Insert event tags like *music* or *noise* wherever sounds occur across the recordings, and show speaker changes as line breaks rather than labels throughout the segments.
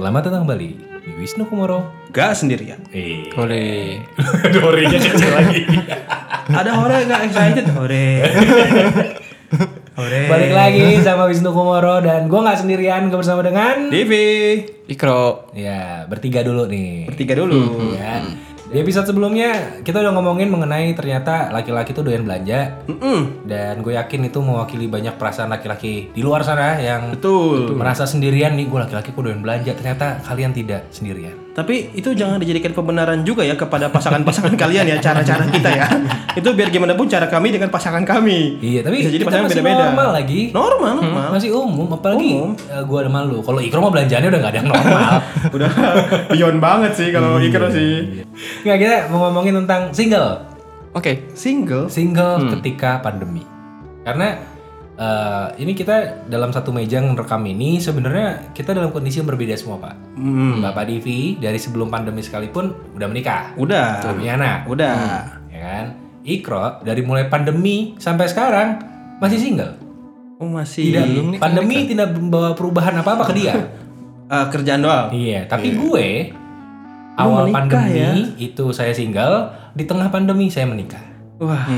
Selamat datang kembali di Wisnu Kumoro.
Gak sendirian.
Eh, *laughs*
Oleh
Dorinya
Eh.
kecil lagi.
Ada hore gak excited hore. hore.
Balik lagi sama Wisnu Kumoro dan gue nggak sendirian, gue bersama dengan
Divi.
Ikro
ya bertiga dulu nih.
Bertiga dulu.
Ya.
Hmm.
Di episode sebelumnya kita udah ngomongin mengenai ternyata laki-laki tuh doyan belanja
Mm-mm.
dan gue yakin itu mewakili banyak perasaan laki-laki di luar sana yang
Betul.
merasa sendirian nih gue laki-laki kok doyan belanja ternyata kalian tidak sendirian.
Tapi itu jangan dijadikan pembenaran juga ya kepada pasangan-pasangan *laughs* kalian ya cara-cara kita ya. Itu biar gimana pun cara kami dengan pasangan kami.
Iya, tapi
Bisa jadi
kita
pasangan
masih
beda-beda.
normal Hmm. lagi.
Normal, normal.
Masih umum, apalagi eh, gua ada malu. Kalau Ikro mah belanjaannya udah nggak ada yang normal.
Udah *laughs* beyond banget sih kalau
Iya.
Ikro sih.
*laughs* Nggak kita mau ngomongin tentang single,
Oke
Single.
single ketika pandemi. Karena eh, ini kita dalam satu meja rekam ini sebenarnya kita dalam kondisi yang berbeda semua pak.
Hmm.
Bapak Divi dari sebelum pandemi sekalipun udah menikah,
Udah.
udah punya anak,
Udah.
ya kan? Ikro dari mulai pandemi sampai sekarang masih single.
Oh masih
Hmm. Tidak, pandemi tidak membawa perubahan apa apa ke *laughs* dia.
Eh, kerjaan doang.
Iya, tapi gue awal
menikah
pandemi
ya?
itu saya single, di tengah pandemi saya menikah.
Wah,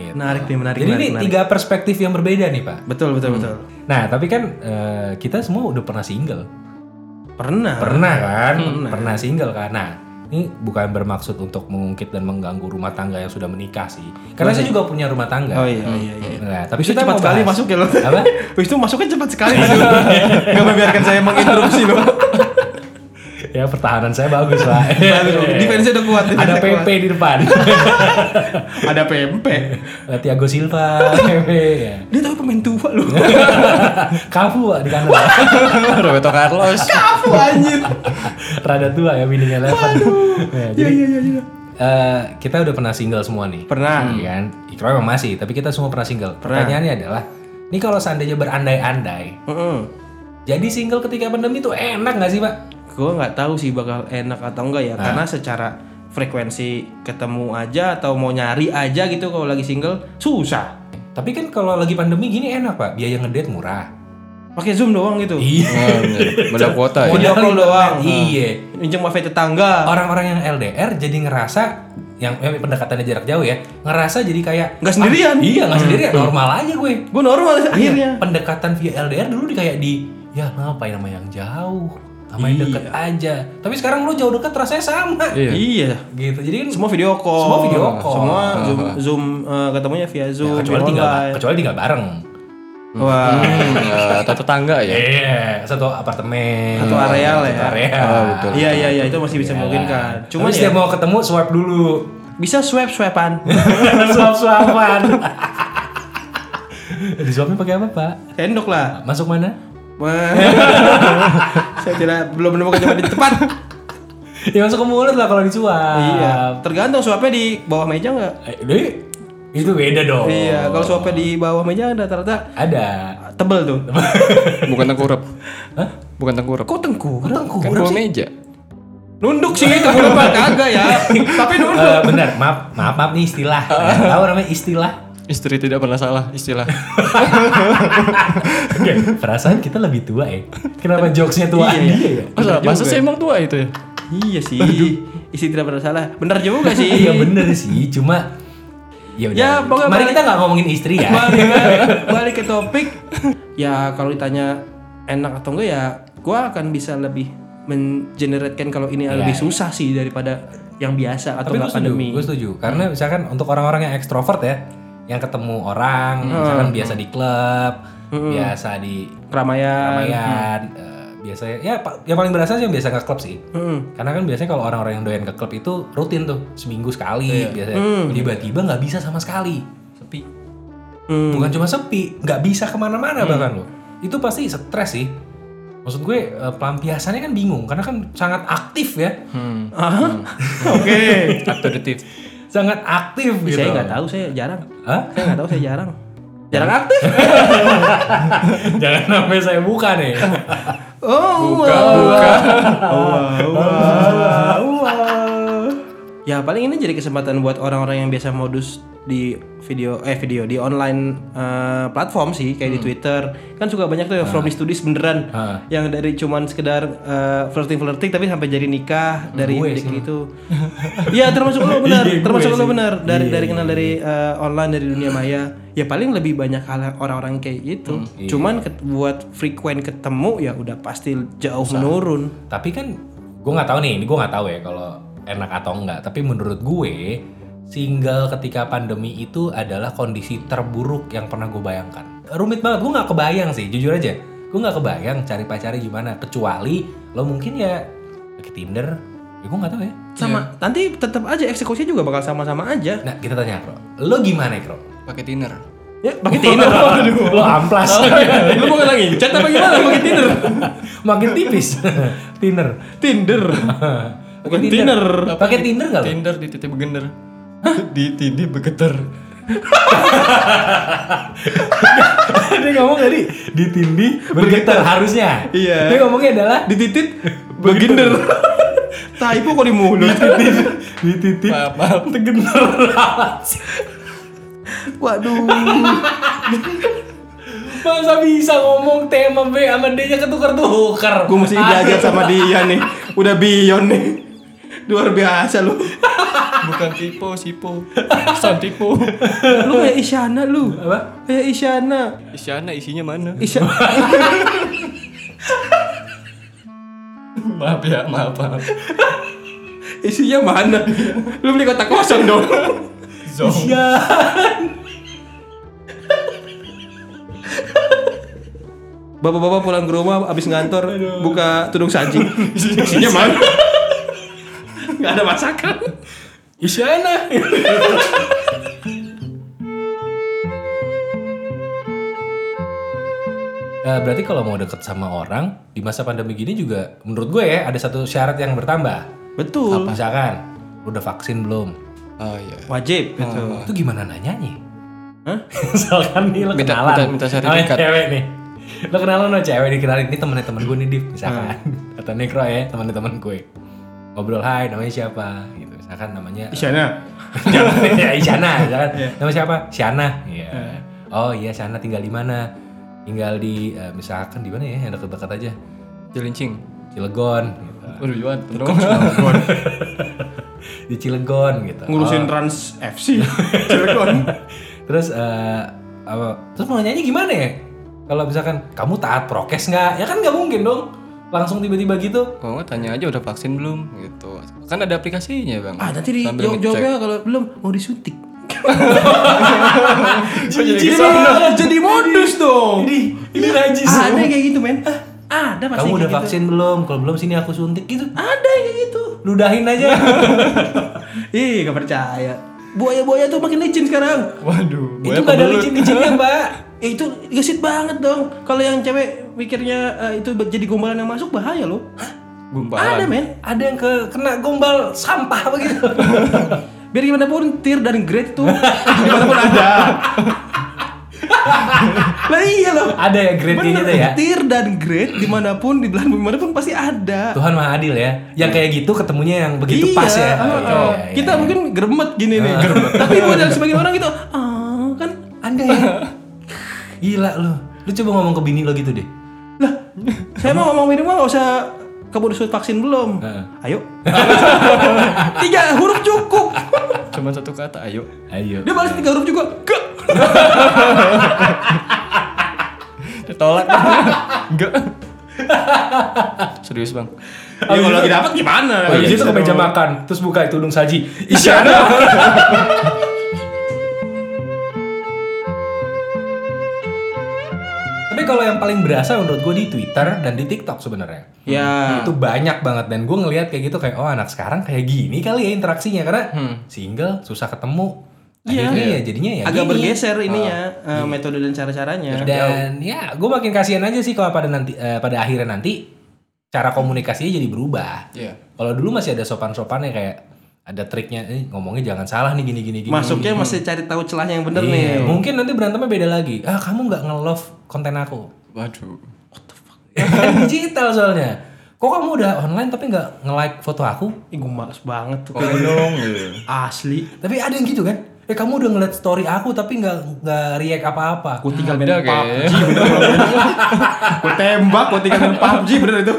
Gitu.
menarik nih, Nah, menarik,
Jadi
menarik,
ini
menarik.
tiga perspektif yang berbeda nih pak.
Betul, betul, betul.
Nah, tapi kan eh, kita semua udah pernah single,
Pernah.
pernah kan? Pernah single kan? Nah, ini bukan bermaksud untuk mengungkit dan mengganggu rumah tangga yang sudah menikah sih, karena saya juga punya rumah tangga.
Oh iya, iya, iya.
Nah, tapi
Itu
kita
cepat
mau
sekali
bahas-
masuk ya lo. *laughs*
Apa?
Itu masuknya cepat sekali. Gak membiarkan saya menginterupsi lo.
ya pertahanan saya bagus pak.
Defense udah
*laughs*
kuat.
Ada
defense-nya kuat.
PP di depan. *laughs*
Ada PP.
Tiago Silva, PP ya.
Dia tahu pemain tua lo.
*laughs* Kafu Pak, di
*laughs*
kanan.
Roberto Carlos
Kafu anjir.
Rada tua ya Winning Eleven. *laughs* Ya,
Iya,
jadi eh, kita udah pernah single semua nih.
Pernah.
Iya kan? Ikro emang masih, tapi kita semua pernah single. Pertanyaannya adalah, ini kalau seandainya berandai-andai,
Heeh.
jadi single ketika pandemi itu enak nggak sih pak?
Gue nggak tahu sih bakal enak atau enggak ya, karena secara frekuensi ketemu aja atau mau nyari aja gitu kalau lagi single susah.
Tapi kan kalau lagi pandemi gini enak pak, biaya ngedate murah.
Pakai zoom doang gitu.
Iya.
Oh, bener. Beda kuota ya
Video call doang.
Iya.
Minjem wifi tetangga.
Orang-orang yang LDR jadi ngerasa yang eh, pendekatannya jarak jauh ya, ngerasa jadi kayak
Nggak sendirian. Hmm.
"Ah, iya nggak sendirian, normal aja gue.
Gue normal sih, akhirnya.
pendekatan via LDR dulu di kayak di ya ngapain sama yang jauh sama yang deket aja tapi sekarang lu jauh deket rasanya sama
Iya.
Iya.
gitu jadi kan
Semua video call.
Semua video call. Ah,
Semua zoom, zoom eh, ketemunya via zoom.
ya, kecuali
via
tinggal
online.
kecuali tinggal bareng
Wah.
Hmm, eh, Atau tetangga ya
iya satu apartemen
Satu areal ya.
satu areal
Oh, betul.
Iya iya iya itu masih bisa memungkinkan.
cuma
Cuma
setiap
ya
mau ketemu swipe
*laughs*
dulu
bisa swipe
*laughs*
swipean.
swap
*laughs*
swapan di swapnya pakai apa pak
Sendok lah.
masuk mana *laughs*
Wah. Saya tidak belum menemukan jawaban yang tepat.
ya masuk ke mulut lah kalau disuap
Iya. Tergantung swipe di bawah meja nggak?
Eh, deh, itu beda dong
Iya. Kalau swipe di bawah meja kan rata-rata
ada
tebel tuh.
Bukan tengkurep
Hah?
Bukan tengkurep
Kok tengku?
Kan
tengkurap
gua meja
Nunduk sih itu
*laughs*
kagak ya. Tapi nunduk.
Eh, benar, maaf, maaf, maaf nih istilah. Ya, Tahu namanya istilah?
Istri tidak pernah salah istilah
Perasaan kita lebih tua ya. Kenapa jokesnya tua?
Iya, iya.
*laughs* Masa, masa sih emang tua itu ya?
Iya sih. Istri tidak pernah salah. Benar juga sih.
Iya bener sih, cuma ya udah.
Ya, pokoknya
Mari
balik-
kita nggak ngomongin istri ya. *laughs*
balik, balik ke topik ya kalau ditanya enak atau enggak ya gua akan bisa lebih mengeneratekan kalau ini
Ya.
lebih susah sih daripada yang biasa atau
Tapi gue
nggak
setuju,
pandemi
gue setuju. Karena misalkan untuk orang-orang yang ekstrovert ya, yang ketemu
Hmm.
orang, misalkan biasa di klub, biasa di
keramaian
keramaian, eh, biasanya ya pa- yang paling berasa sih yang biasa ke klub sih.
Mm.
Karena kan biasanya kalau orang-orang yang doyan ke klub itu rutin tuh seminggu sekali biasanya. Tiba-tiba nggak bisa sama sekali. Sepi.
Hmm.
Bukan cuma sepi, nggak bisa kemana-mana bahkan lo. Itu pasti stres sih. Maksud gue eh, pelampiasannya kan bingung karena kan sangat aktif ya,
Hmm
Ah, oke
Up to the teeth
sangat aktif gitu.
saya nggak tahu saya jarang
Hah? *laughs*
saya nggak tahu saya jarang jarang aktif
Jangan sampai saya buka nih.
oh
Buka, buka
wow wow wow Ya paling ini jadi kesempatan buat orang-orang yang biasa modus di video eh video di online eh, platform sih kayak di Twitter kan suka banyak tuh yang from this to this beneran
Ah.
yang dari cuman sekedar eh, flirting flirting tapi sampai jadi nikah dari
gue
dari gitu. Iya termasuk lo
*laughs*
benar,
Iya, gue
termasuk lo
sih.
benar dari dari kenal dari eh, online dari dunia maya. Ya paling lebih banyak hal- orang-orang kayak gitu.
Hmm, iya.
Cuman ket- buat frequent ketemu ya udah pasti jauh menurun.
Tapi kan gue nggak tahu nih, ini gue nggak tahu ya kalau enak atau enggak. Tapi menurut gue, single ketika pandemi itu adalah kondisi terburuk yang pernah gue bayangkan. Rumit banget, gue nggak kebayang sih, jujur aja. Gue nggak kebayang cari pacarnya gimana, kecuali lo mungkin ya pakai Tinder. Ya gue nggak tahu ya.
sama nanti tetap aja eksekusinya juga bakal sama-sama aja
Nah kita tanya Kro, lo gimana Kro?
Pakai dinner.
ya pakai tinder
*laughs* lo amplas.
Oh, iya. *laughs* lu mau lagi chat apa gimana pakai tinder
Makin tipis. *laughs* Tinder.
tinder
Pakai
bukan tinder
Pakai Tinder nggak lo?
Tinder di titik begender. di titik begeter.
*laughs* Dia ngomong tadi ditindih bergetar harusnya.
Iya.
Dia ngomongnya adalah
dititit *laughs* beginder typo kok di mulut
dititip *laughs*
Maaf, maaf.
tegener
waduh
masa bisa ngomong tema B sama Ah. D nya ketukar tukar
gue mesti belajar sama dia nih udah beyond nih luar biasa lu
Bukan tipe, *laughs* sipo. San tipe.
lu kayak Isyana lu
apa
kayak Isyana
Isyana isinya mana?
Isyana
maaf ya, maaf, maaf.
isinya mana lu beli kotak kosong dong
Zong.
iya
Bapak-bapak pulang ke rumah abis ngantor buka tudung *laughs* saji. Isinya mana? Gak ada masakan.
Isyana Nah, berarti kalau mau deket sama orang di masa pandemi gini juga menurut gue ya ada satu syarat yang bertambah.
Betul.
Misalkan lu udah vaksin belum?
Oh iya.
Wajib. Betul.
Itu gimana nanyanya?
Hah?
*laughs* Misalkan nih lo
Minta-
kenalan
minta- minta sertifikat.
Sama cewek nih Lo kenalan sama cewek dikenalin Ini temennya temen gue nih Div Misalkan
Hmm.
*laughs* Atau Nekro ya temennya temen gue Ngobrol hai namanya siapa gitu Misalkan
*laughs*
namanya
Isyana.
*laughs* ya Isyana misalkan.
Iya.
Nama siapa? Syana Iya Oh iya Syana tinggal di mana? Tinggal di eh, Misalkan di mana ya yang deket-deket aja
Jelincing.
Cilegon gitu. *laughs*
Waduh, Johan. bener. *laughs*
Di Cilegon gitu
Ngurusin Trans *laughs* FC. Cilegon.
Terus eh apa? Terus mau nanyanya gimana ya? Kalau misalkan kamu taat prokes nggak? Ya kan nggak mungkin dong. Langsung tiba-tiba
*laughs*
gitu.
Kalau nggak tanya aja udah vaksin belum gitu. Kan ada aplikasinya bang.
Ah nanti di
Sambil
jawab
ngecek.
jawabnya kalau belum mau disuntik.
Jadi
Jadi, jadi modus dong.
Ini ini najis.
Ada yang kayak gitu men. Ah, Ada pasti
Kamu udah
kayak gitu.
vaksin belum? Kalau belum sini aku suntik gitu.
Ada yang kayak gitu.
Ludahin
*laughs*
aja.
Ih gak percaya. Buaya-buaya tuh makin licin sekarang.
Waduh.
Itu
buaya
nggak ada
pembelut.
*laughs*
licin-licinnya mbak.
Ya itu gesit banget dong. Kalau yang cewek mikirnya eh, itu jadi gombalan yang masuk bahaya loh.
Gumpalan.
Ada men.
Ada yang ke kena gombal sampah gitu. begitu.
Biar gimana pun tier dan grade tuh gimana pun ada. *laughs* lah iya loh.
*laughs* ada ya grade-nya
Bener,
gitu ya.
Tier dan grade dimanapun di belahan bumi manapun pasti ada.
Tuhan maha adil ya. Yang kayak gitu ketemunya yang begitu pas ya.
Iya.
Iya,
ah, ah.
iya,
Kita
iya. Ah,
mungkin geremet gini nih. Tapi buat yang sebagian orang gitu, ah kan
Anda ya. *laughs* Gila lu. Lu coba ngomong ke bini lo gitu deh.
lah *laughs* saya mau ngomong minimal nggak usah kamu disuruh vaksin belum?
Heeh.
Ayo. *laughs* Tiga huruf cukup.
Cuman satu kata, ayo.
Ayo.
Dia balas tiga huruf juga. Gak.
Ditolak. *laughs* Enggak. Serius bang.
Ya kalau lagi dapat gimana? Gitu
Oh, Habis itu ke meja makan, terus buka itu tudung saji.
*laughs*
Isyana. Tapi kalau yang paling berasa menurut gue di Twitter dan di TikTok sebenarnya.
Ya.
Itu banyak banget dan gue ngelihat kayak gitu kayak oh anak sekarang kayak gini kali ya interaksinya karena single susah ketemu.
Hmm. Iya. Iya.
Akhirnya ya jadinya ya
Agak
gini.
bergeser ininya eh, metode dan cara-caranya.
Dan ya gue makin kasihan aja sih kalau pada nanti eh, pada akhirnya nanti cara komunikasinya jadi berubah.
Iya.
Kalau dulu masih ada sopan-sopannya kayak ada triknya, eh, ngomongnya jangan salah nih gini gini gini.
Masuknya masih cari tahu celahnya yang bener
Iya,
nih.
mungkin nanti berantemnya beda lagi. Ah *laughs* kamu nggak nge-love konten aku.
Waduh.
Kan Ya digital soalnya. kok kamu udah online tapi nggak nge-like foto aku?
Ih, gue males banget tuh
Komen dong gitu.
iya. asli.
Tapi ada yang gitu kan? Eh kamu udah ngeliat story aku tapi nggak nggak react apa-apa.
Gue tinggal main
Beda
PUBG
kayaknya.
bener *laughs* Gue tembak, gue tinggal main PUBG bener itu.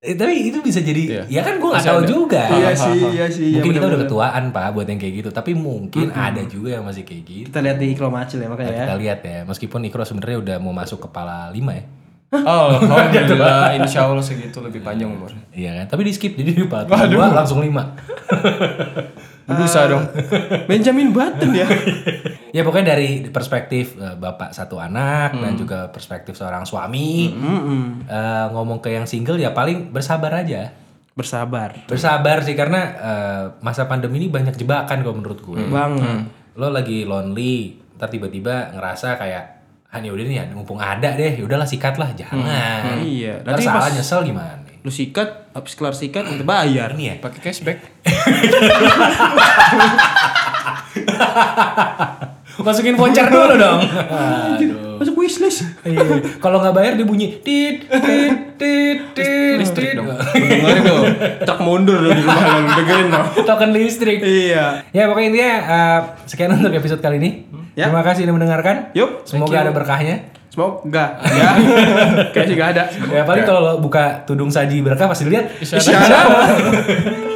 Eh, tapi itu bisa jadi, ya kan gue nggak
Bisa
tahu
ada.
juga.
Iya *laughs* sih, iya sih. iya,
mungkin kita udah
bener-bener.
ketuaan pak buat yang kayak gitu. Tapi mungkin ada juga yang masih kayak gitu.
Kita lihat di Iklo Macil ya makanya ya.
Kita lihat ya, meskipun Ikro sebenarnya udah mau masuk kepala lima ya.
Oh, alhamdulillah, insya Allah segitu lebih panjang umurnya.
Iya kan? Tapi di skip jadi di part dua langsung lima. *laughs*
Eh.
Berdosa
*laughs*
dong.
Benjamin Button *laughs* ya.
ya pokoknya dari perspektif eh, bapak satu anak dan juga perspektif seorang suami eh, ngomong ke yang single ya paling bersabar aja.
Bersabar.
Bersabar sih karena eh, masa pandemi ini banyak jebakan kalau menurut gue.
Bang.
Lo lagi lonely, ntar tiba-tiba ngerasa kayak ah ini udah nih ya, mumpung ada deh, ya udahlah sikat lah, jangan.
Iya,
Ntar
nanti
salah
pas-
nyesel gimana?
Lu sikat, habis kelar sikat minta bayar.
Ini ya,
Pakai
*laughs*
cashback.
masukin voucher dulu dong. Aduh.
Masuk wishlist.
Ah, Iya. Kalau nggak bayar dia bunyi tit tit tit tit tit.
Dengerin dong. Tak mundur lu di rumah lu dengerin dong.
Token listrik.
Iya.
Ya pokoknya intinya eh, sekian untuk episode kali ini.
Ya.
Terima kasih sudah mendengarkan.
Yup.
Semoga ada berkahnya.
Semoga *laughs* ya. Kayaknya sih gak ada.
Ya paling kalau lo buka tudung saji berkah pasti lihat
Isyara.